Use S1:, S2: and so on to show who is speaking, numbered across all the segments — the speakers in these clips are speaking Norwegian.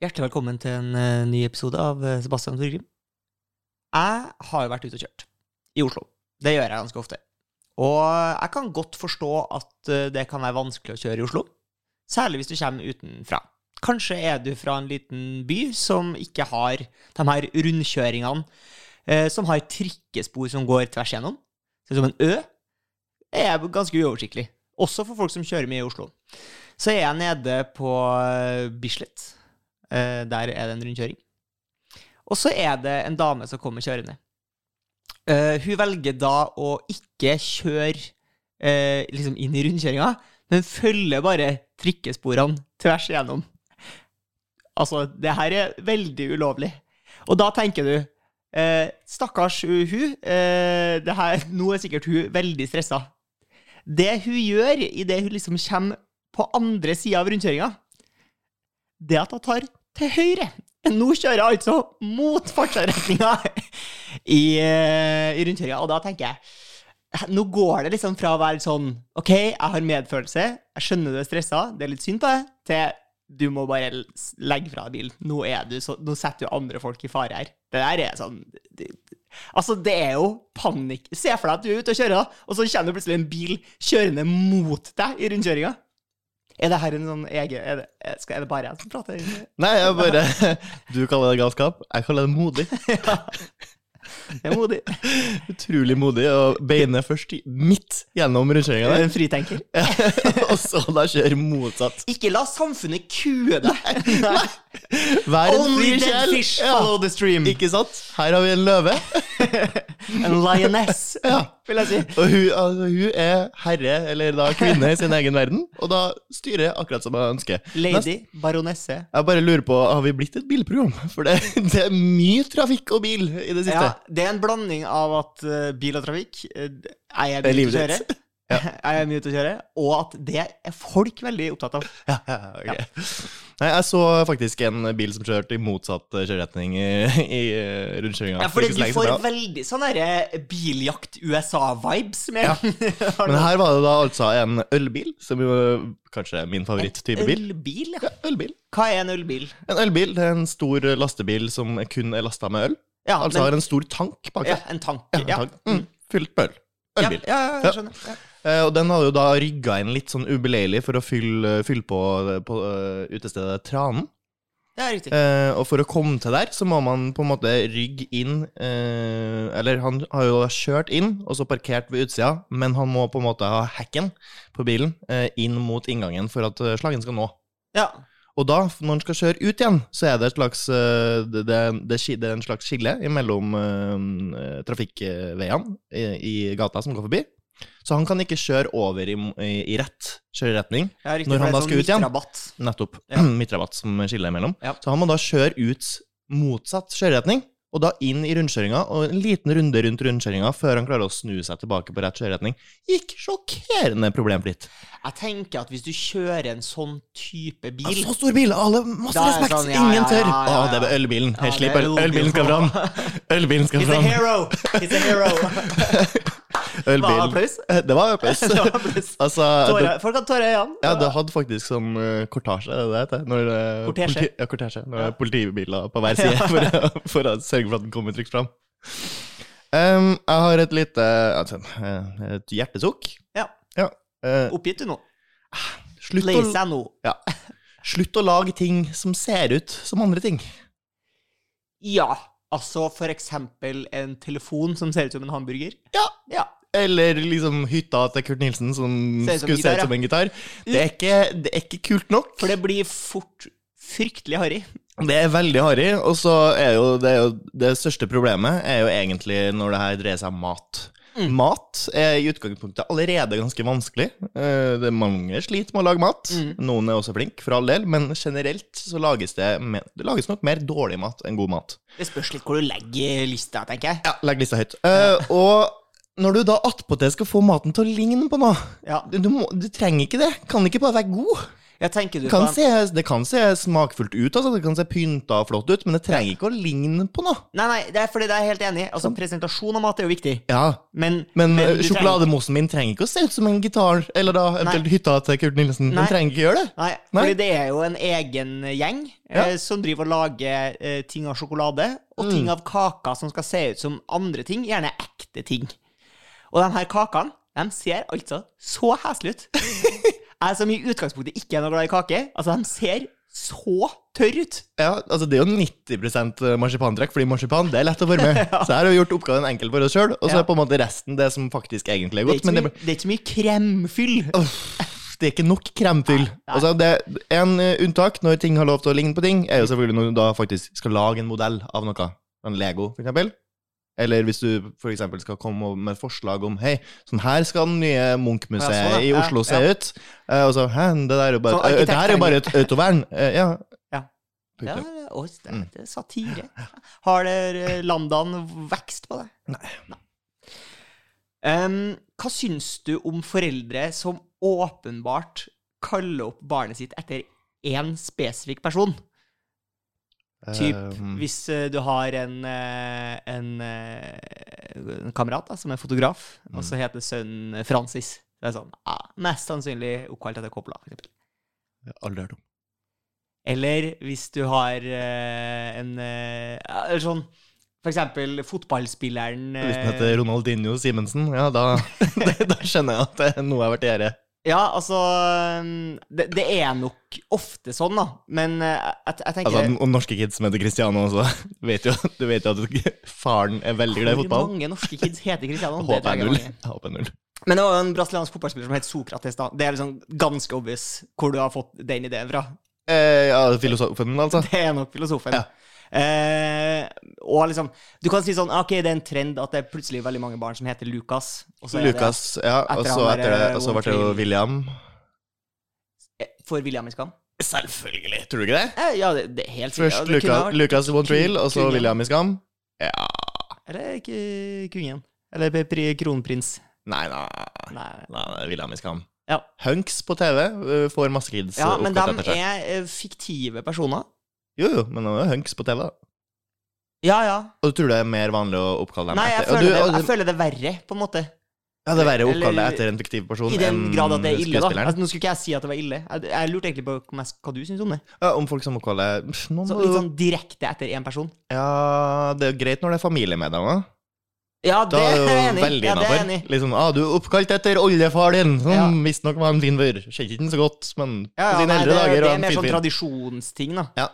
S1: Hjertelig velkommen til en eh, ny episode av eh, Sebastian Torgrim. Jeg har jo vært ute og kjørt i Oslo. Det gjør jeg ganske ofte. Og jeg kan godt forstå at eh, det kan være vanskelig å kjøre i Oslo, særlig hvis du kommer utenfra. Kanskje er du fra en liten by som ikke har de her rundkjøringene, eh, som har trikkespor som går tvers gjennom. Ser ut som en ø. Det er ganske uoversiktlig. Også for folk som kjører mye i Oslo. Så er jeg nede på eh, Bislett. Eh, der er det en rundkjøring. Og så er det en dame som kommer kjørende. Eh, hun velger da å ikke kjøre eh, liksom inn i rundkjøringa, men følger bare trikkesporene tvers igjennom. Altså, det her er veldig ulovlig. Og da tenker du eh, Stakkars hun, hun. eh, det her, nå er sikkert hun veldig stressa. Det hun gjør idet hun liksom kommer på andre sida av rundkjøringa, det at jeg tar til høyre. Nå kjører jeg altså mot fartsretninga i, eh, i rundkjøringa, og da tenker jeg Nå går det liksom fra å være sånn OK, jeg har medfølelse, jeg skjønner du er stressa, det er litt synd på deg, til du må bare l- s- legge fra deg bilen. Nå, er du så, nå setter du andre folk i fare her. Det der er sånn det, Altså, det er jo panikk. Se for deg at du er ute og kjører, da, og så kommer det plutselig en bil kjørende mot deg i rundkjøringa. Er det her en sånn egen Er det, er- skal, er det bare jeg som prater?
S2: Nei, jeg bare Du kaller det galskap. Jeg kaller det modig.
S1: Ja. Det er modig.
S2: Utrolig modig å beine først i- midt gjennom
S1: Du
S2: rundkjøringa
S1: er
S2: der,
S1: en fritenker.
S2: og så da kjøre motsatt.
S1: Ikke la samfunnet kue deg!
S2: Vær en
S1: Only
S2: fri
S1: dead
S2: sjel.
S1: fish
S2: Ja.
S1: follow the stream.
S2: Ikke sant? Her har vi en løve,
S1: En lioness,
S2: Ja.
S1: vil jeg si.
S2: og hun, altså, hun er herre, eller da kvinne, i sin egen verden, og da styrer jeg akkurat som jeg ønsker. Nest-
S1: Lady, baronesse.
S2: Jeg bare lurer på, har vi blitt et bilprogram? For det, det er mye trafikk og bil i det siste.
S1: Ja, det er en blanding av at eh, bil og trafikk eh, Jeg er mye ute
S2: Det er
S1: å
S2: livet
S1: kjøre.
S2: ditt.
S1: Jeg er mye ute å kjøre. Og at det er folk veldig opptatt av.
S2: Ja, ja, ja, ok. Nei, jeg så faktisk en bil som kjørte i motsatt eh, kjøreretning i, i eh, rundkjøringa.
S1: Ja,
S2: for
S1: fordi
S2: ikke så
S1: du
S2: lenge
S1: får
S2: siden.
S1: veldig sånn derre biljakt-USA-vibes med Har du
S2: Men her var det da altså en ølbil, som jo eh, kanskje er min favoritttype bil.
S1: Ølbil, ja.
S2: Ja, ølbil.
S1: Hva er en ølbil?
S2: En ølbil det er en stor eh, lastebil som kun er lasta med øl.
S1: Ja,
S2: Altså har en stor tank bak
S1: ja,
S2: seg.
S1: en tank.
S2: Ja, en tank. Mm, fylt med øl. Ølbil.
S1: Ja, ja, ja,
S2: Ja.
S1: jeg skjønner. Ja.
S2: Eh, og den hadde jo da rygga inn litt sånn ubeleilig for å fylle, fylle på, på eh, utestedet Tranen.
S1: Det er riktig.
S2: Eh, og for å komme til der, så må man på en måte rygge inn eh, Eller han har jo da kjørt inn, og så parkert ved utsida, men han må på en måte ha hekken på bilen eh, inn mot inngangen for at eh, slagen skal nå.
S1: Ja.
S2: Og da, når han skal kjøre ut igjen, så er det et slags eh, Det, det, det, ski- det er en slags skille mellom eh, trafikkveiene i, i gata som går forbi. Så han kan ikke kjøre over i, i, i rett kjøreretning.
S1: Ja, riktig,
S2: Når
S1: for det
S2: han
S1: er
S2: da
S1: sånn
S2: skal ut igjen?
S1: midtrabatt.
S2: Nettopp.
S1: Ja.
S2: Midtrabatt som skiller imellom.
S1: Ja.
S2: Så han må da kjøre ut motsatt kjøreretning, og da inn i rundkjøringa, og en liten runde rundt rundkjøringa før han klarer å snu seg tilbake på rett kjøreretning. Gikk sjokkerende problemfritt.
S1: Jeg tenker at hvis du kjører en sånn type
S2: Ja,
S1: bil
S2: så stor bil! Alle, masse
S1: Da er det
S2: respekt!
S1: sånn, ja,
S2: Ingen
S1: ja,
S2: tør!
S1: ja, ja, ja.
S2: Å, det var ølbilen.
S1: Ja,
S2: Jeg
S1: det
S2: sånn. slipper.
S1: er ølbilen.
S2: Ølbilen skal fram! Ølbilen skal
S1: He's a
S2: fram!
S1: hero! He's a hero! Hva er
S2: Ølbilen.
S1: applaus?
S2: Det var applaus.
S1: Det var applaus.
S2: Altså, det,
S1: Tårer- Folk har tårer i øynene.
S2: ja, det hadde faktisk sånn eh, kortasje, er det det heter? Når, eh,
S1: Kortesje.
S2: politi- ja, kortesje. Når det
S1: Ja.
S2: er politibiler på hver side for, å, for å sørge for at den kommer trygt fram. Em, jeg har et lite altså, eh, et hjertesukk.
S1: Ja.
S2: Eh,
S1: Oppgitt du nå?
S2: slutt,
S1: Lei
S2: å,
S1: seg nå.
S2: slutt å lage ting som ser ut som andre ting.
S1: Ja. Altså for eksempel en telefon som ser ut som en hamburger.
S2: Ja.
S1: Ja.
S2: Eller liksom hytta til Kurt Nilsen som
S1: Ser ut som
S2: skulle se
S1: gitar,
S2: ut
S1: ja.
S2: som en gitar. Det er ikke, det er ikke kult nok.
S1: For det blir fort fryktelig harry.
S2: Det er veldig harry, og så er jo det, er jo det største problemet er jo egentlig når det her dreier seg om mat.
S1: Mm.
S2: Mat er i utgangspunktet allerede ganske vanskelig. Eh, Det er Mange sliter med å lage mat.
S1: Mm.
S2: Noen er også flink, for all del, men generelt så lages det, me- det lages nok mer dårlig mat enn god mat.
S1: Det spørs litt hvor du legger lista, tenker jeg.
S2: Ja, Legg lista høyt. Eh, Og når du da attpåtil skal få maten til å ligne på noe,
S1: Ja.
S2: du, du, må, du trenger ikke det. Kan ikke bare være god.
S1: Jeg tenker du
S2: Det kan,
S1: på den-
S2: se, det kan se smakfullt ut, altså. det kan se pynta og flott ut, men det trenger ikke å ligne på noe.
S1: Nei, nei, det er fordi det er jeg helt enig i. Altså, presentasjon av mat er jo viktig,
S2: Ja,
S1: men
S2: Men,
S1: Men
S2: eh,
S1: du trenger-
S2: sjokolademosen min trenger ikke å se ut som en gitar, eller da eventuelt hytta til Kurt Nilsen.
S1: Nei.
S2: Den trenger ikke gjøre det.
S1: Nei,
S2: Nei.
S1: fordi det er jo en egen gjeng
S2: Ja.
S1: eh, som driver og lager eh, ting av sjokolade, og ting
S2: Mm.
S1: av kaker som skal se ut som andre ting, gjerne ekte ting. Og de her kakene, de ser altså så heslige ut. Jeg som i utgangspunktet ikke er noe glad i kake, altså de ser så tørre ut.
S2: Ja, altså Det er jo 90 marsipantrekk, fordi marsipan det er lett å forme. Så her har vi gjort oppgaven enkel for oss sjøl, og
S1: Ja.
S2: så er på en måte resten det som faktisk egentlig
S1: Det er
S2: er godt.
S1: ikke så
S2: Men det,
S1: mye, det er ikke så mye kremfyll.
S2: Uff, det er ikke nok kremfyll. Altså, det er en eh, unntak når ting har lov til å ligne på ting, er jo selvfølgelig når du da faktisk skal lage en modell av noe. En Lego, for eksempel. Eller hvis du for eksempel skal komme med et forslag om Hei, sånn her skal den nye Munch-museet
S1: Ja, sånn,
S2: i
S1: ja.
S2: Oslo se
S1: Ja.
S2: ut. Eh, Og så Hæ, det der er jo bare,
S1: Sånn arkitekt-
S2: det her er jo bare et autovern. Eh, Ja.
S1: Ja. Ja,
S2: Punktum.
S1: oi, det er det er satire. Har dere landaen vekst på det?
S2: Nei.
S1: Em, hva syns du om foreldre som åpenbart kaller opp barnet sitt etter én spesifikk person? Typ,
S2: Eh,
S1: Hvis eh, du har en, eh, en, eh, en kamerat da, som er fotograf, og så heter sønnen Francis. Det er sånn, ja, Mest sannsynlig oppkalt etter Coppola, for eksempel.
S2: jeg har Aldri hørt om.
S1: Eller hvis du har eh, en eh, ja, eller sånn For eksempel fotballspilleren
S2: Hvis den
S1: eh,
S2: heter Ronaldinho Simensen, ja, da, da skjønner jeg at det er noe jeg har vært i gjerde.
S1: Ja, altså mm, det, det er nok ofte sånn, da. Men eh, jeg, jeg tenker
S2: Altså, og norske kids som heter Cristiano også. Du vet jo, du vet jo at faren er veldig glad i
S1: Hvor
S2: fotball.
S1: mange norske kids heter Cristiano? Det
S2: Håper
S1: tror
S2: jeg
S1: jeg
S2: null.
S1: er mange.
S2: Jeg Håper null.
S1: Men det var jo en brasiliansk fotballspiller som het Sokrates. da Det er liksom ganske obvious hvor du har fått den ideen fra.
S2: Eh, ja, filosofen, altså.
S1: Det er nok filosofen.
S2: Ja.
S1: Eh, og liksom Du kan si sånn Ok, det er en trend at det er plutselig veldig mange barn som heter Lukas. og så er det-
S2: Lukas, ja. Og
S1: Etter
S2: så
S1: han
S2: etter eh,
S1: der,
S2: det, og så ble det jo
S1: Wonderful.
S2: William.
S1: Eh, For William i Skam.
S2: Selvfølgelig, tror du ikke det?
S1: Eh, Ja, det, det er helt sikkert.
S2: Først
S1: Ja, det kunne
S2: Luca,
S1: vært-
S2: Lucas Von Trill, og så
S1: Kunne.
S2: William i Skam. Ja
S1: Eller ikke kongen. Eller pri- pri- kronprins.
S2: Nei, nei.
S1: Nei.
S2: nei det er William i Skam.
S1: Ja.
S2: Hunks på TV eh, får masse kids
S1: Ja, men de
S2: oppkalt etter seg.
S1: er eh, fiktive personer.
S2: Jo, jo, men det er jo Hunks på TV. da.
S1: Ja, ja.
S2: Og du tror det er mer vanlig å oppkalle dem
S1: Nei, jeg
S2: etter? og
S1: føler, det,
S2: du,
S1: jeg føler det verre, på en måte.
S2: Ja, det er verre å oppkalle
S1: Eller-
S2: deg etter en fiktiv person
S1: I den
S2: enn
S1: grad at det er ille, da.
S2: skuespilleren.
S1: Altså, nå skulle ikke jeg si at det var ille. Jeg, jeg lurte egentlig på hva jeg- hva du syns om det.
S2: Ja, om folk som oppkaller pff, nå
S1: Så
S2: må
S1: litt
S2: du-
S1: sånn direkte etter én person.
S2: Ja, det er jo greit når det er familiemedlemmer.
S1: Ja, det
S2: Da
S1: er
S2: er det jo
S1: jeg enig i.
S2: veldig
S1: Ja, det er jeg
S2: innafor.
S1: enig i.
S2: liksom, ah, du er oppkalt etter oldefar din, som
S1: Ja.
S2: visstnok var en fin fyr. Kjente ikke den så godt, men
S1: Ja,
S2: på
S1: ja,
S2: sine
S1: nei, det,
S2: eldre dager
S1: det
S2: var
S1: er
S2: han
S1: mer
S2: fin
S1: sånn
S2: fyr.
S1: tradisjonsting, da.
S2: Ja.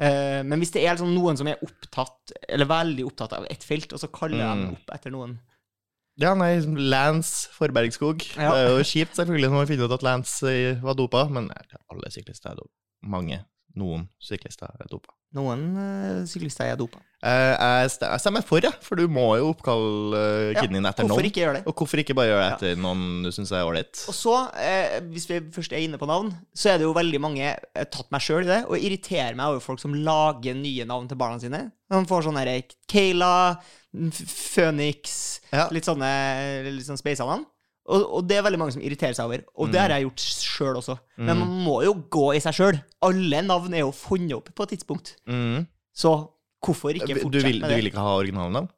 S1: Eh, men hvis det er liksom noen som er opptatt, eller veldig opptatt av ett felt, og så kaller jeg dem
S2: Mm.
S1: opp etter noen
S2: Ja, nei, Lance Forbergskog.
S1: Ja.
S2: Det er jo kjipt, selvfølgelig, når man finner ut at Lance eh, var dopa, men nei, alle syklister er dopa. Mange. Noen syklister er dopa.
S1: Noen eh, syklister er dopa.
S2: Eh, Jeg st- jeg stemmer for, jeg, for du må jo oppkalle eh,
S1: Ja,
S2: kiden din etter
S1: Hvorfor
S2: noen.
S1: ikke gjøre det?
S2: Og hvorfor ikke bare gjøre det etter noen du syns er ålreit?
S1: Og så, eh, hvis vi først er inne på navn, så er det jo veldig mange eh, tatt meg sjøl i det, og irriterer meg over folk som lager nye navn til barna sine. De får sånn herre Kayla, Phoenix,
S2: Ja.
S1: litt sånne litt sånn speisa navn. Og, og det er veldig mange som irriterer seg over. Og
S2: Mm.
S1: det har jeg gjort sjøl også. Men man må jo gå i seg sjøl. Alle navn er jo funnet opp på et tidspunkt.
S2: Mm.
S1: Så hvorfor ikke
S2: Du
S1: fortsette
S2: vil,
S1: med
S2: du
S1: det?
S2: vil ikke ha originalnavn?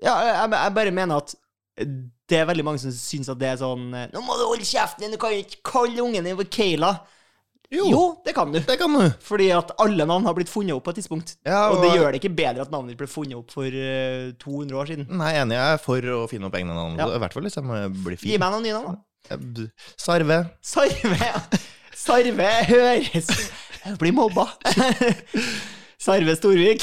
S1: Ja, jeg, jeg bare mener at det er veldig mange som syns at det er sånn Nå må du holde kjeften din, du kan jo ikke kalle ungen din for Kayla. Jo. det kan du.
S2: Det kan du.
S1: Fordi at alle navn har blitt funnet opp på et tidspunkt.
S2: Ja,
S1: og, det
S2: og-
S1: gjør det ikke bedre at navnet ditt ble funnet opp for eh, 200 år siden.
S2: Nei, enig. Jeg er for å finne opp egne navn.
S1: Ja.
S2: I hvert fall hvis jeg må bli
S1: Gi
S2: fin.
S1: meg noen nye navn, da.
S2: Eh, Sarve.
S1: Sarve. Sarve høres Jeg blir mobba. Sarve Storvik.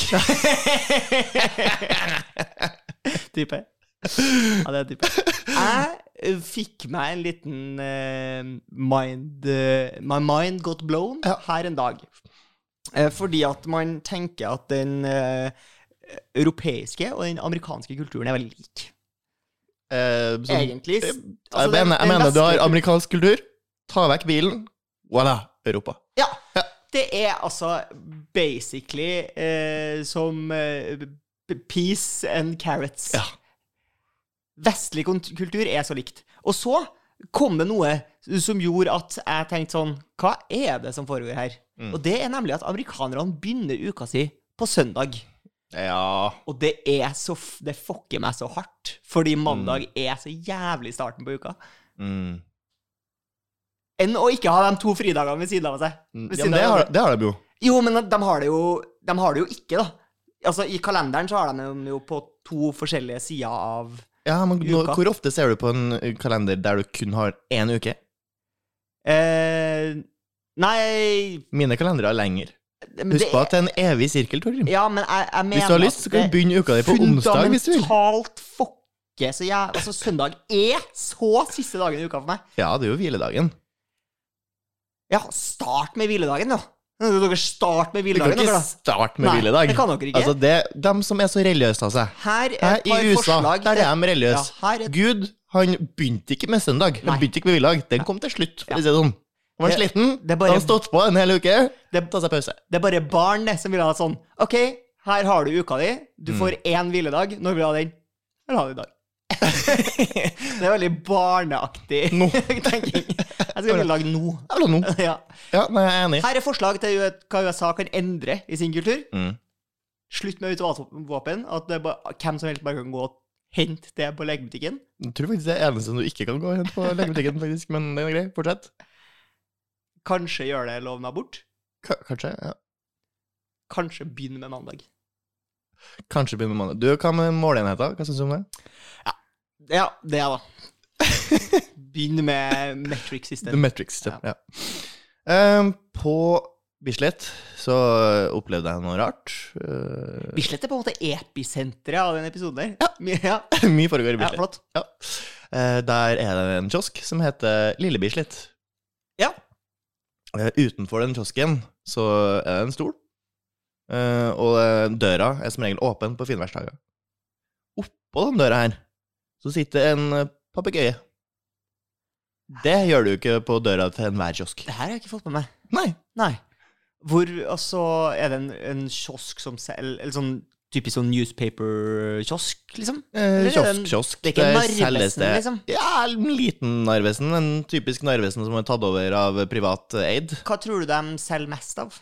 S1: type. Ja, det er type. Jeg eh, fikk meg en liten eh, mind eh, My mind got blown
S2: Ja.
S1: her en dag. Eh, fordi at man tenker at den eh, europeiske og den amerikanske kulturen er veldig lik.
S2: Eh, som-
S1: Egentlig. s-
S2: Eh,
S1: altså,
S2: jeg
S1: den-
S2: mener,
S1: den
S2: jeg mener du har
S1: vestlige
S2: amerikansk kultur. Ta vekk bilen. Voilà. Europa.
S1: Ja. Det er altså basically eh, som eh, p- peas and carrots.
S2: Ja.
S1: Vestlig kont- kultur er så likt. Og så kom det noe som gjorde at jeg tenkte sånn Hva er det som foregår her?
S2: Mm.
S1: Og det er nemlig at amerikanerne begynner uka si på søndag.
S2: Ja.
S1: Og det er så f- Det fucker meg så hardt. Fordi mandag er så jævlig starten på uka.
S2: Mm.
S1: Enn å ikke ha de to fridagene ved siden av seg.
S2: Mm. ja
S1: siden
S2: men det,
S1: av-
S2: har, det har de jo.
S1: Jo, men de har det jo, de har det jo ikke, da. Altså, I kalenderen så har de dem jo på to forskjellige sider av
S2: Ja, men nå,
S1: Uka.
S2: Hvor ofte ser du på en eh, kalender der du kun har én uke?
S1: eh, Nei
S2: Mine kalendere er lenger.
S1: men
S2: Husk
S1: det
S2: på
S1: er-
S2: at det er en evig sirkel, Torgrim.
S1: Ja, men jeg, jeg mener
S2: Hvis du har lyst, så kan du begynne uka di på onsdag hvis du vil.
S1: Fundamentalt fucke så jeg Altså, søndag er så siste dagen i uka for meg.
S2: Ja, det er jo hviledagen.
S1: Ja, start med hviledagen, da. Dere start med
S2: Du
S1: hviledagen,
S2: kan ikke
S1: dere, da.
S2: starte med
S1: Nei,
S2: hviledag.
S1: det kan dere ikke.
S2: Altså, det, dem som er så religiøse av seg.
S1: Her er
S2: Her
S1: et
S2: i
S1: par
S2: USA,
S1: forslag
S2: der er
S1: til-
S2: de
S1: ja,
S2: religiøse.
S1: her er
S2: Gud, han begynte ikke med søndag. Han
S1: Nei.
S2: begynte ikke med hviledag. Den kom til slutt, for å si det sånn. Han var
S1: Det-
S2: sliten,
S1: det er
S2: han
S1: bare-
S2: hadde stått på en hel uke.
S1: Det-
S2: Ta seg pause.
S1: Det er bare barn det, som vil ha sånn OK, her har du uka di. Du
S2: Mm.
S1: får én hviledag. Når vil du ha den? Jeg vil ha den i dag. det er veldig barneaktig
S2: Nå.
S1: tenking. Jeg skal ikke lage nå.
S2: Jeg vil ha noe.
S1: Ja.
S2: Ja, nei, jeg er enig.
S1: Her er forslag til hva USA kan endre i sin kultur.
S2: Mm.
S1: Slutt med autovåpen. At det er bare, hvem som helst bare kan gå og hente det på legebutikken.
S2: Jeg tror faktisk det er eneste du ikke kan gå og hente på legebutikken, faktisk. Men det er greit. Fortsett.
S1: Kanskje gjøre det loven abort.
S2: Ka- Kanskje. ja.
S1: Kanskje begynne med mandag.
S2: Kanskje begynne med mandag. Du, hva med måleenheter? Hva syns du om det?
S1: Ja, det er da. Begynn med metric
S2: The
S1: system.
S2: Matrix. det- Ja. Ehm, på Bislett så opplevde jeg noe rart. Eh,
S1: Bislett er på en måte episenteret av den episoden der. Ja, ja,
S2: mye foregår i
S1: ja
S2: Bislett.
S1: flott.
S2: Ja. Eh, der er det en kiosk som heter Lille Bislett.
S1: Ja.
S2: Eh, utenfor den kiosken så er det en stol, Eh, og eh, døra er som regel åpen på finværsdager. Oppå den døra her så sitter en eh, papegøye. Det gjør du ikke på døra til enhver kiosk.
S1: Det her har jeg ikke fått med meg.
S2: Nei.
S1: Nei. Hvor altså Er det en, en kiosk som selger Eller sånn typisk sånn newspaper-kiosk, liksom?
S2: Eh,
S1: Eller er det
S2: kiosk,
S1: en-
S2: kiosk.
S1: Det er ikke en
S2: Der selges
S1: Narvesen,
S2: det-
S1: liksom?
S2: Ja, en liten Narvesen. En typisk Narvesen som er tatt over av privat eh, eid.
S1: Hva tror du de selger mest av?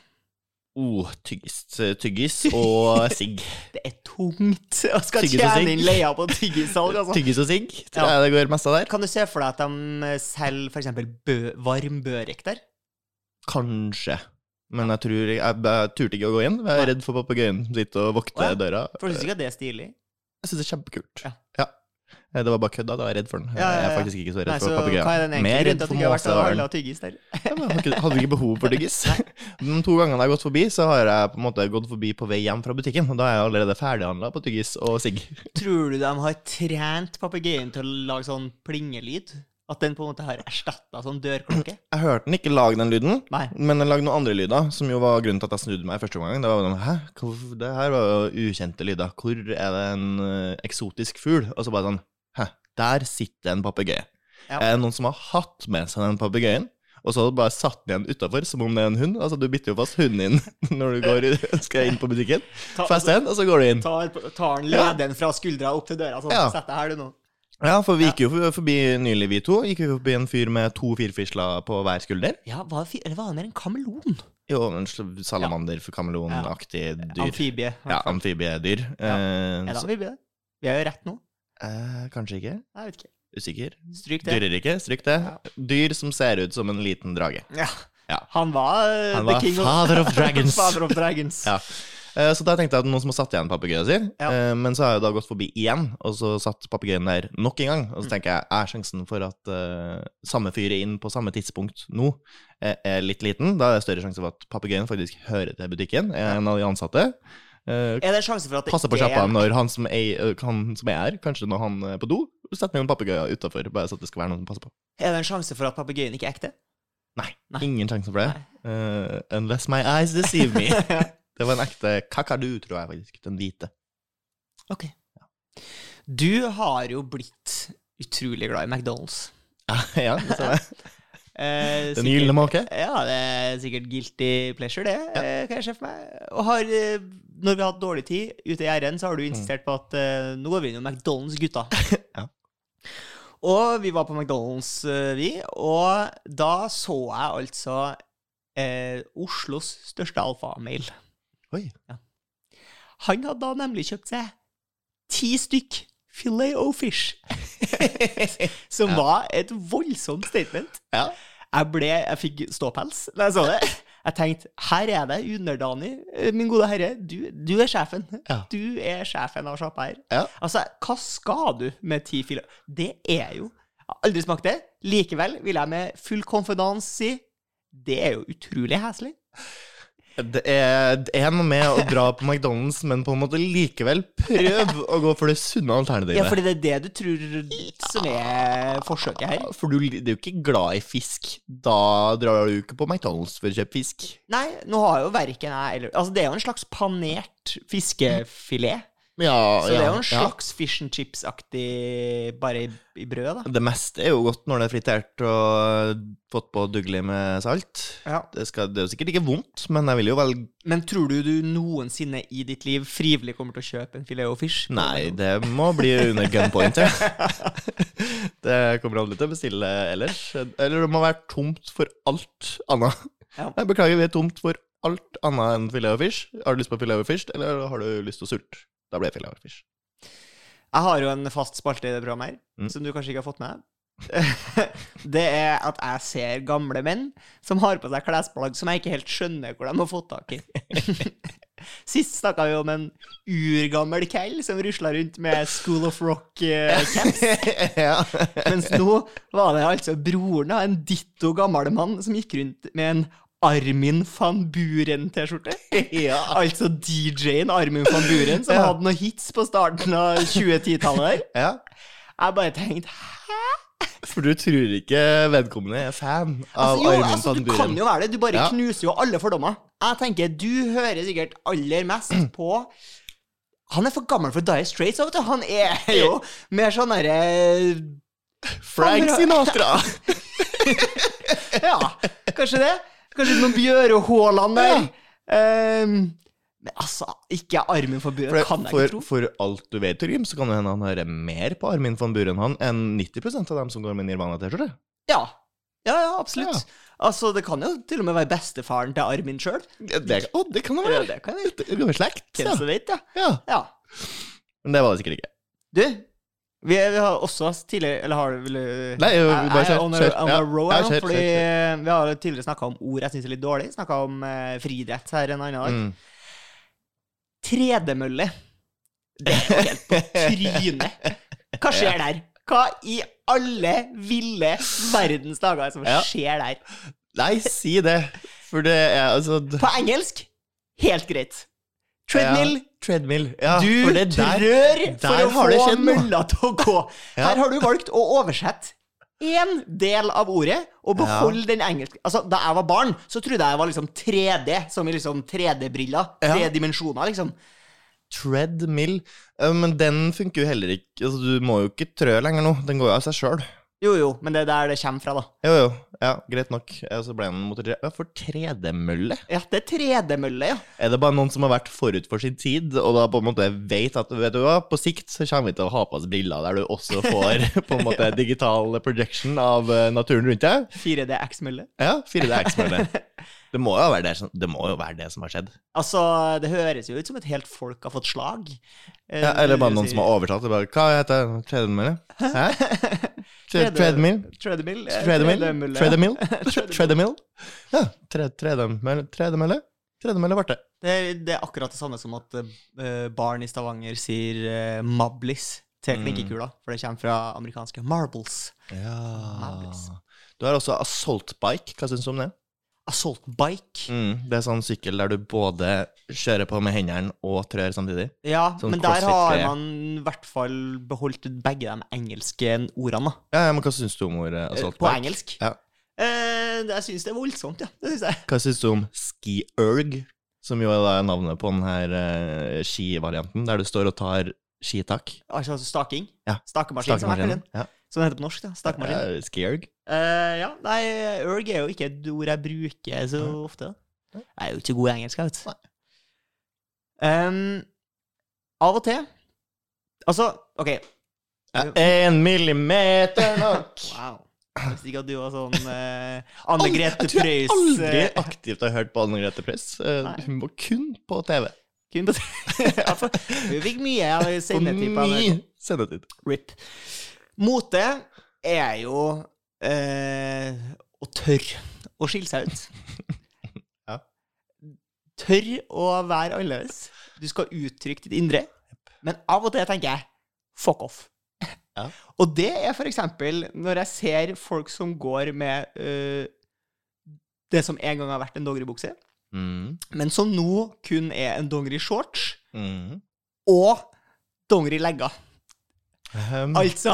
S2: Oh, tyggis, tyggis og sigg.
S1: Det er tungt å skal
S2: Tyggis og sigg.
S1: tjene inn leia på tyggisalg, altså.
S2: Tyggis og sigg, tror
S1: Ja.
S2: jeg det går mest av der.
S1: Kan du se for deg at de selger f.eks. Bø varm børek der?
S2: Kanskje. Men jeg, tror, jeg, jeg turte ikke å gå inn. Jeg er
S1: Nei.
S2: redd for papegøyen som sitter og vokter
S1: Å, ja.
S2: døra.
S1: For du syns ikke at det er stilig?
S2: Jeg syns det er kjempekult.
S1: Ja.
S2: Eh, Det var bare kødda. Jeg var redd for den.
S1: Ja, ja,
S2: Jeg
S1: ja.
S2: er faktisk ikke så redd
S1: Nei, så
S2: for
S1: hva
S2: papegøyen.
S1: er den egentlige
S2: Mer
S1: grunnen
S2: redd
S1: til at
S2: for
S1: du ikke har vært og
S2: måseharen.
S1: handla tyggis der?
S2: Ja, men jeg har ikke- Hadde ikke behov for tyggis. De to gangene jeg har gått forbi, så har jeg på en måte gått forbi på vei hjem fra butikken. Og da er jeg allerede ferdighandla på tyggis og sigg.
S1: Tror du de har trent papegøyen til å lage sånn plingelyd? At den på en måte har erstatta sånn dørklokke?
S2: Jeg hørte den ikke lage den lyden,
S1: Nei.
S2: men den lagde noen andre lyder, som jo var grunnen til at jeg snudde meg første gangen. Det var jo den, Hæ? Hvor- Det her var jo ukjente lyder. Hvor er det en eh, eksotisk fugl? Og så bare sånn Hæ, der sitter en papegøye.
S1: Ja.
S2: Er det noen som har hatt med seg den papegøyen? Og så har du bare satt den igjen utafor, som om det er en hund. Altså, du bytter jo fast hunden inn når du går, i- skal inn på butikken.
S1: Ta,
S2: Fest den, og så går du inn.
S1: tar, tar den lederen fra skuldra opp til døra, sånn.
S2: Ja.
S1: Sett deg her, du, nå.
S2: Ja, for vi gikk jo for- forbi nylig, vi to. Gikk vi forbi en fyr med to firfisler på hver skulder.
S1: Ja, hva, fi- eller var det mer en kameleon?
S2: Jo, en sl- salamander, kameleonaktig dyr.
S1: Amfibie.
S2: Ja, amfibiedyr. Eh,
S1: Er det
S2: så-
S1: amfibie? det? Vi er jo rett nå.
S2: eh, kanskje ikke.
S1: Jeg vet ikke.
S2: Usikker.
S1: Stryk det.
S2: Dyrerike, stryk det. Dyr som ser ut som en liten drage.
S1: Ja.
S2: Ja.
S1: Han var, eh,
S2: Han
S1: the
S2: var
S1: king of-
S2: father of dragons.
S1: Father of dragons.
S2: Ja. Eh, Så da tenkte jeg at noen som har satt igjen papegøyen sin,
S1: Ja.
S2: eh, men så har jeg da gått forbi igjen, og så satt papegøyen der nok en gang. Og
S1: Mm.
S2: så tenker jeg, er sjansen for at eh, samme fyr er inn på samme tidspunkt nå, eh, er litt liten? Da er det større sjanse for at papegøyen faktisk hører til butikken, er en av de ansatte. Eh,
S1: Er det en sjanse for at det
S2: Passer på
S1: ikke er-
S2: sjappa når han som, er, eh, han som er her, kanskje når han eh, er på do, setter noen papegøyer utafor, bare så at det skal være noen som passer på.
S1: Er det en sjanse for at papegøyen ikke er ekte?
S2: Nei,
S1: Nei.
S2: ingen sjanse for det. Eh, unless my eyes deceive me. det var en ekte kakadu, tror jeg faktisk. Den hvite.
S1: Ok. Du har jo blitt utrolig glad i McDonald's.
S2: ja, det ser jeg.
S1: Eh,
S2: Den
S1: sikkert-
S2: gylne måke?
S1: Ja, det er sikkert guilty pleasure, det. eh, Kan jeg se for meg. Og har, eh, når vi har hatt dårlig tid
S2: Mm.
S1: ute i RN, så har du insistert på at eh, nå går vi inn i McDonald's, gutta.
S2: Ja.
S1: Og vi var på McDonald's, eh, vi, og da så jeg altså eh, Oslos største alfamail.
S2: Oi.
S1: Ja. Han hadde da nemlig kjøpt seg ti stykk filet o fish, som var et voldsomt statement.
S2: Ja.
S1: Jeg, ble, jeg fikk ståpels da jeg så det. Jeg tenkte her er det underdanig, eh, min gode herre. Du, du er sjefen.
S2: Ja.
S1: Du er sjefen av sjappa her.
S2: Ja.
S1: Altså, hva skal du med ti filet? Det er jo Jeg har aldri smakt det. Likevel vil jeg med full konfidans si det er jo utrolig heslig.
S2: Det er, det er noe med å dra på McDonald's, men på en måte likevel prøv å gå for det sunne alternativet.
S1: Ja, fordi det er det du tror som er forsøket her.
S2: Ja, For du, du er jo ikke glad i fisk. Da drar du ikke på McDonald's for å kjøpe fisk.
S1: Nei, nå har jo verken jeg eller Altså, det er jo en slags panert fiskefilet.
S2: Ja,
S1: Så det er jo
S2: ja,
S1: en slags fish and chips-aktig, bare i, i brød, da.
S2: ja. Det meste er jo godt når det er fritert og fått på dugelig med salt. Det, skal, det er jo sikkert ikke vondt, men jeg vil jo velge
S1: Men tror du du noensinne i ditt liv frivillig kommer til å kjøpe en filet og fish?
S2: Nei, det må bli under gunpoint. Ja. Det kommer aldri til å bestille ellers. Eller det må være tomt for alt annet.
S1: Ja.
S2: Jeg beklager, vi er tomt for alt annet enn filet og fish. Har du lyst på filet og fish, eller har du lyst til å sulte? Da blir det filet og fish.
S1: Jeg har jo en fast spalte i det programmet her,
S2: Mm.
S1: som du kanskje ikke har fått med. det er at jeg ser gamle menn som har på seg klesplagg som jeg ikke helt skjønner hvor de har fått tak i. Sist snakka vi om en urgammel kall som rusla rundt med School of Rock-caps.
S2: ja.
S1: Mens nå var det altså broren av en ditto gammel mann som gikk rundt med en Armin van Buren-T-skjorte. Altså DJ-en Armin van Buren, som
S2: Ja.
S1: hadde noen hits på starten av 2010-tallet der.
S2: ja.
S1: Jeg bare tenkte Hæ?
S2: For du tror ikke vedkommende er fan av
S1: Altså, jo,
S2: Armin
S1: altså,
S2: van
S1: du kan
S2: Buren?
S1: jo være det. Du bare
S2: Ja.
S1: knuser jo alle fordommer. Jeg tenker, Du hører sikkert aller mest
S2: Mm.
S1: på Han er for gammel for Dire Straits. vet du. Han er jo mer sånn derre
S2: Frank Sinatra!
S1: Ja, kanskje det. Kanskje noen Bjøre Haaland der.
S2: Ja.
S1: Ehm, men altså, ikke Armin van Buren
S2: For,
S1: kan jeg ikke
S2: for,
S1: tro.
S2: for alt du vet, Trym, så kan det hende han hører mer på Armin van Buren han enn 90 av dem som går med Nirvana-T-skjorte.
S1: Ja. ja, ja, absolutt. Altså, Det kan jo til og med være bestefaren til Armin sjøl.
S2: Ja, Det, å, det kan det
S1: Ja,
S2: være.
S1: det kan jeg
S2: Det kan være slekt.
S1: hvem
S2: Ja.
S1: som vet, ja.
S2: ja.
S1: ja.
S2: Men det var det sikkert ikke.
S1: Du, vi, vi har også tidligere Eller har du vil, du-
S2: Nei, jo,
S1: Jeg-
S2: bare
S1: jeg er
S2: kjør,
S1: on a-
S2: kjør.
S1: on a
S2: Ja,
S1: roll
S2: ja,
S1: her nå,
S2: kjør,
S1: fordi
S2: kjør,
S1: Vi har jo tidligere snakka om ord jeg syns er litt dårlig. Snakka om eh, friidrett her en annen dag.
S2: Mm.
S1: Tredemølle. Det er jo helt på
S2: Mm.
S1: trynet. Hva skjer der? Hva i alle ville verdens dager er det som
S2: Ja.
S1: skjer der?
S2: Nei, si det. For det er altså d-
S1: På engelsk helt greit. Treadmill.
S2: Ja, treadmill. Ja,
S1: Du
S2: for det der-
S1: trør
S2: der
S1: for å
S2: har det
S1: få
S2: skjedd noe.
S1: mølla til å gå.
S2: Ja.
S1: Her har du valgt å oversette én del av ordet og beholde den engelske Altså, Da jeg var barn, så trodde jeg jeg var liksom 3D, som i liksom 3D-briller.
S2: Ja.
S1: Tre dimensjoner, liksom.
S2: Treadmill. Ja, Men den funker jo heller ikke. Altså, du må jo ikke trø lenger nå. Den går jo av seg sjøl.
S1: Jo, jo, men det er der det kommer fra, da.
S2: Jo, jo. Ja, greit nok. Ja, Så ble den motorisert. Ja, for tredemølle?
S1: Ja, det er tredemølle, ja.
S2: Er det bare noen som har vært forut for sin tid, og da på en måte vet at vet du hva, på sikt så kommer vi til å ha på oss briller der du også får på en måte digital projection av eh, naturen rundt deg?
S1: 4DX-mølle.
S2: Ja, 4DX-mølle. Det må, jo være det, som, det må jo være det som har skjedd.
S1: Altså, det høres jo ut som et helt folk har fått slag. Eh,
S2: Ja, eller bare
S1: vil
S2: noen
S1: jeg si.
S2: som har overtatt det. bare, Hva heter det? Treadmill? Hæ? Tre-
S1: Tredje-
S2: Treadmill?
S1: Treadmill? eh,
S2: Treadmill?
S1: tredemølle.
S2: Treadmill? Treadmill? Ja. tre- Tredemølle? Tredemølle? Tredemølle ble det.
S1: Det, er- det er akkurat det samme som at eh, barn i Stavanger sier eh, 'mablis' til
S2: Mm.
S1: knikkekula, for det kommer fra amerikanske 'marbles'.
S2: Ja.
S1: Madness.
S2: Du har også assault bike. Hva syns du om det?
S1: Assault bike.
S2: Mm, det er sånn sykkel der du både kjører på med hendene og trør samtidig.
S1: Ja,
S2: Sånn
S1: men der har
S2: crossfit-greie.
S1: man i hvert fall beholdt begge de engelske ordene, da.
S2: Ja, ja, men Hva syns du om ordet
S1: Eh,
S2: assault
S1: På
S2: bike?
S1: engelsk.
S2: Ja.
S1: Eh, det- jeg syns det er voldsomt, ja. Det syns jeg.
S2: Hva syns du om ski-erg, som jo er da navnet på denne uh, skivarianten, der du står og tar skitak?
S1: Altså staking.
S2: Ja.
S1: Stakemaskin, som jeg kaller den.
S2: Ja.
S1: Som det heter på norsk, da. Stakemaskin.
S2: Ja, ski-erg.
S1: Eh, ja, nei, erg er jo ikke et ord jeg bruker så
S2: Nei.
S1: ofte.
S2: Nei.
S1: Jeg er jo ikke god i engelsk, jeg, vet du. Em, av og til Altså, OK.
S2: Én Eh, millimeter nok!
S1: Wow. Hvis ikke at du var sånn eh, Anne Grete
S2: Jeg tror jeg
S1: Preus
S2: aldri
S1: eh,
S2: aktivt har hørt på Anne Grete Preus. Eh,
S1: Nei.
S2: Hun var kun på TV.
S1: kun på- altså, Hun fikk mye av
S2: På
S1: sendetippa.
S2: ny sendetid.
S1: RIP. Mote er jo eh, å tørre å skille seg ut.
S2: Ja.
S1: Tørr å være annerledes. Du skal uttrykke ditt indre. Men av og til tenker jeg fuck off.
S2: Ja.
S1: Og det er for eksempel når jeg ser folk som går med eh, det som en gang har vært en dongeribukse,
S2: Mm.
S1: men som nå kun er en dongeri-shorts
S2: Mm.
S1: og dongeri-legger.
S2: Um,
S1: Altså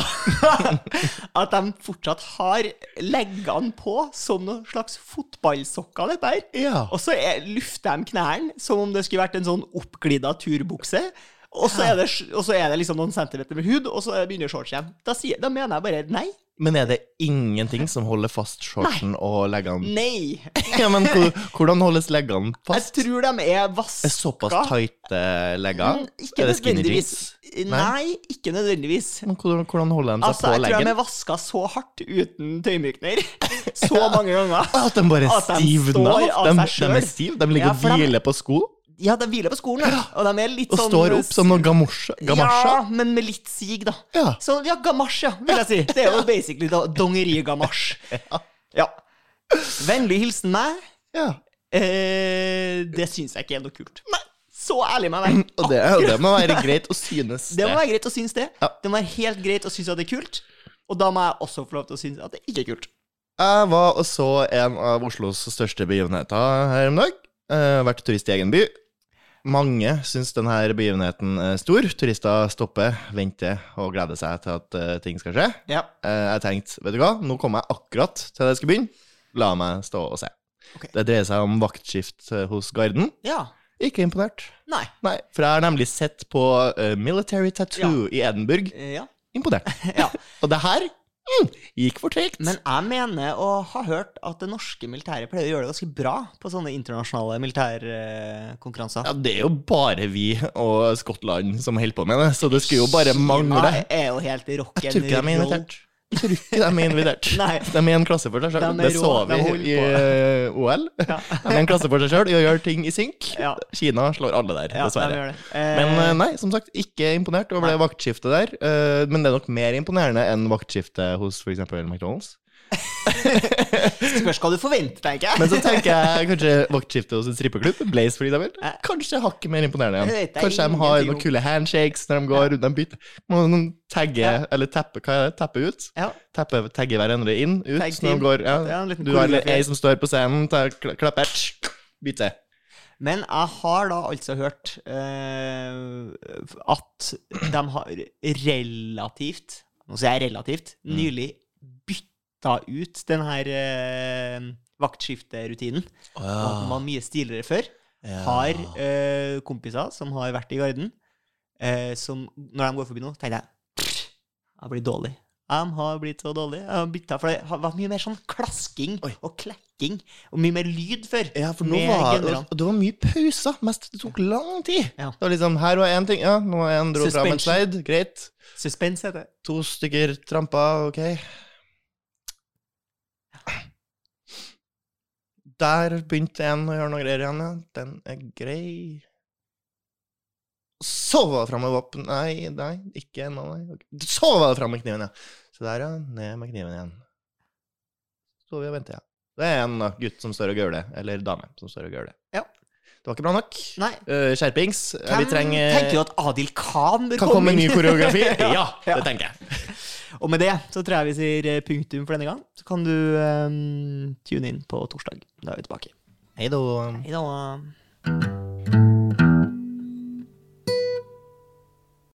S1: at de fortsatt har leggene på som noen slags fotballsokker, dette her.
S2: ja.
S1: Og så er- lufter de knærne som om det skulle vært en sånn oppglidda turbukse. Og så er det, og så er det liksom noen centimeter med hud, og så begynner shorts igjen. Da, sier, da mener jeg bare nei.
S2: Men er det ingenting som holder fast shortsen og leggene
S1: Nei.
S2: Ja, men hvor- Hvordan holdes leggene
S1: Jeg
S2: fast?
S1: tror de er
S2: Er
S1: vaska.
S2: såpass tighte legger?
S1: Mm, Ikke
S2: Er det skinny
S1: nødvendigvis. Nei, ikke nødvendigvis.
S2: Men hvordan, hvordan holder de seg
S1: Altså,
S2: på
S1: jeg tror de
S2: leggen?
S1: er vaska så hardt uten tøymykner så mange ganger.
S2: At de bare
S1: at de
S2: stivner
S1: står
S2: av?
S1: av seg
S2: De, de er
S1: selv.
S2: stive? De ligger
S1: Ja,
S2: og
S1: for de-
S2: hviler på sko?
S1: Ja, de hviler på skolen, ja. og de er litt
S2: Og
S1: sånn
S2: står opp som noen gamosje- gamasjer?
S1: Ja, men med litt sig, da.
S2: Ja.
S1: Så ja, gamasj, ja, vil jeg si. Det er jo basically da, dongeri-gamasj. Ja. Vennlig hilsen meg.
S2: ja.
S1: Eh, det syns jeg ikke er noe kult. Nei, så ærlig må jeg være.
S2: Og det, og det må være greit å synes
S1: Det må være greit å synes det.
S2: Ja.
S1: Det må være helt greit å synes at det er kult. Og da må jeg også få lov til å synes at det ikke er kult.
S2: Jeg var og så en av Oslos største begivenheter her om dag. Eh, vært turist i egen by. Mange syns denne begivenheten er stor. Turister stopper, venter og gleder seg til at eh, ting skal skje.
S1: Ja.
S2: Eh, jeg tenkte, vet du hva, nå kom jeg akkurat til det jeg skulle begynne. La meg stå og se.
S1: Ok.
S2: Det dreier seg om vaktskift eh, hos Garden.
S1: ja.
S2: Ikke imponert.
S1: Nei.
S2: Nei, for jeg har nemlig sett på eh, Military Tattoo i Edinburgh.
S1: Eh, Ja.
S2: Imponert.
S1: ja.
S2: Og det her mm, gikk for tregt.
S1: Men jeg mener å ha hørt at det norske militæret pleier å gjøre det ganske bra på sånne internasjonale militærkonkurranser.
S2: Ja, det er jo bare vi og Skottland som holder på med det, så det skulle jo bare mangle.
S1: er jo helt rocken
S2: Jeg tror ikke de er invitert. Jeg tror ikke de er invitert.
S1: Nei.
S2: De er i en klasse for seg
S1: De
S2: sjøl.
S1: er
S2: Det
S1: rå,
S2: så
S1: de holder
S2: vi i eh, OL. De
S1: Ja.
S2: er i en klasse for seg sjøl i å gjøre ting i synk.
S1: Ja.
S2: Kina slår alle der,
S1: Ja, de
S2: dessverre.
S1: gjør det. Eh,
S2: Men eh, nei, som sagt, ikke imponert over det vaktskiftet der. eh, Men det er nok mer imponerende enn vaktskiftet hos f.eks. McDonald's.
S1: spørs hva du forventer, tenker jeg.
S2: Men så tenker jeg kanskje vaktskiftet hos en strippeklubb, Blaze for eksempel,
S1: Ja.
S2: kanskje hakket mer imponerende
S1: Det
S2: igjen.
S1: vet jeg
S2: Kanskje de har
S1: ingenting om.
S2: noen kule handshakes når de går rundt, de bytter, må de tagge,
S1: Ja.
S2: eller teppe, hva er det, teppe ut?
S1: Ja.
S2: Teppe, tagge hverandre inn, ut,
S1: Tag
S2: når
S1: team.
S2: de går,
S1: Det er
S2: ja.
S1: en liten
S2: Du har
S1: koreografi.
S2: ei som står på scenen, tar kla- klapper, tsk, bytte.
S1: Men jeg har da altså hørt eh, at de har relativt, nå sier jeg relativt,
S2: Mm.
S1: nylig bytta ut den her eh, vaktskifterutinen.
S2: Ah.
S1: og at den var mye stiligere før. Har eh, kompiser som har vært i Garden, eh, som når de går forbi nå, tenker jeg «Pff, Jeg blir dårlig. Jeg har blitt så dårlig. Jeg har byttet», for det har- var mye mer sånn klasking og klekking og mye mer lyd før.
S2: Ja, for nå
S1: med
S2: var
S1: genderne.
S2: og det var mye pauser, mest det tok lang tid.
S1: Ja.
S2: Det var liksom, her var en ting, ja, nå var en dro fram en
S1: Suspension.
S2: slide, greit.
S1: Suspens heter det.
S2: To stykker trampa, ok. Der begynte en å gjøre noe greier igjen, ja. Den er grei. Så var det fram med våpen Nei, nei, ikke ennå, nei. Ok. Så var det fram med kniven, ja. Så der, ja. Ned med kniven igjen. Så vi og venter, ja. Det er en da, gutt som står og gauler. Eller dame som står og gauler.
S1: Ja.
S2: Det var ikke bra nok.
S1: Nei.
S2: Eh, skjerpings. Ja,
S1: Hvem
S2: vi trenger
S1: tenker du at Adil Khan bør
S2: Kan komme
S1: inn?
S2: ny koreografi? ja,
S1: Ja.
S2: det tenker jeg.
S1: Og med det så tror jeg vi sier eh, punktum for denne gang. Så kan du eh, tune inn på torsdag. Da er vi tilbake.
S2: Hei da.
S1: Hei da.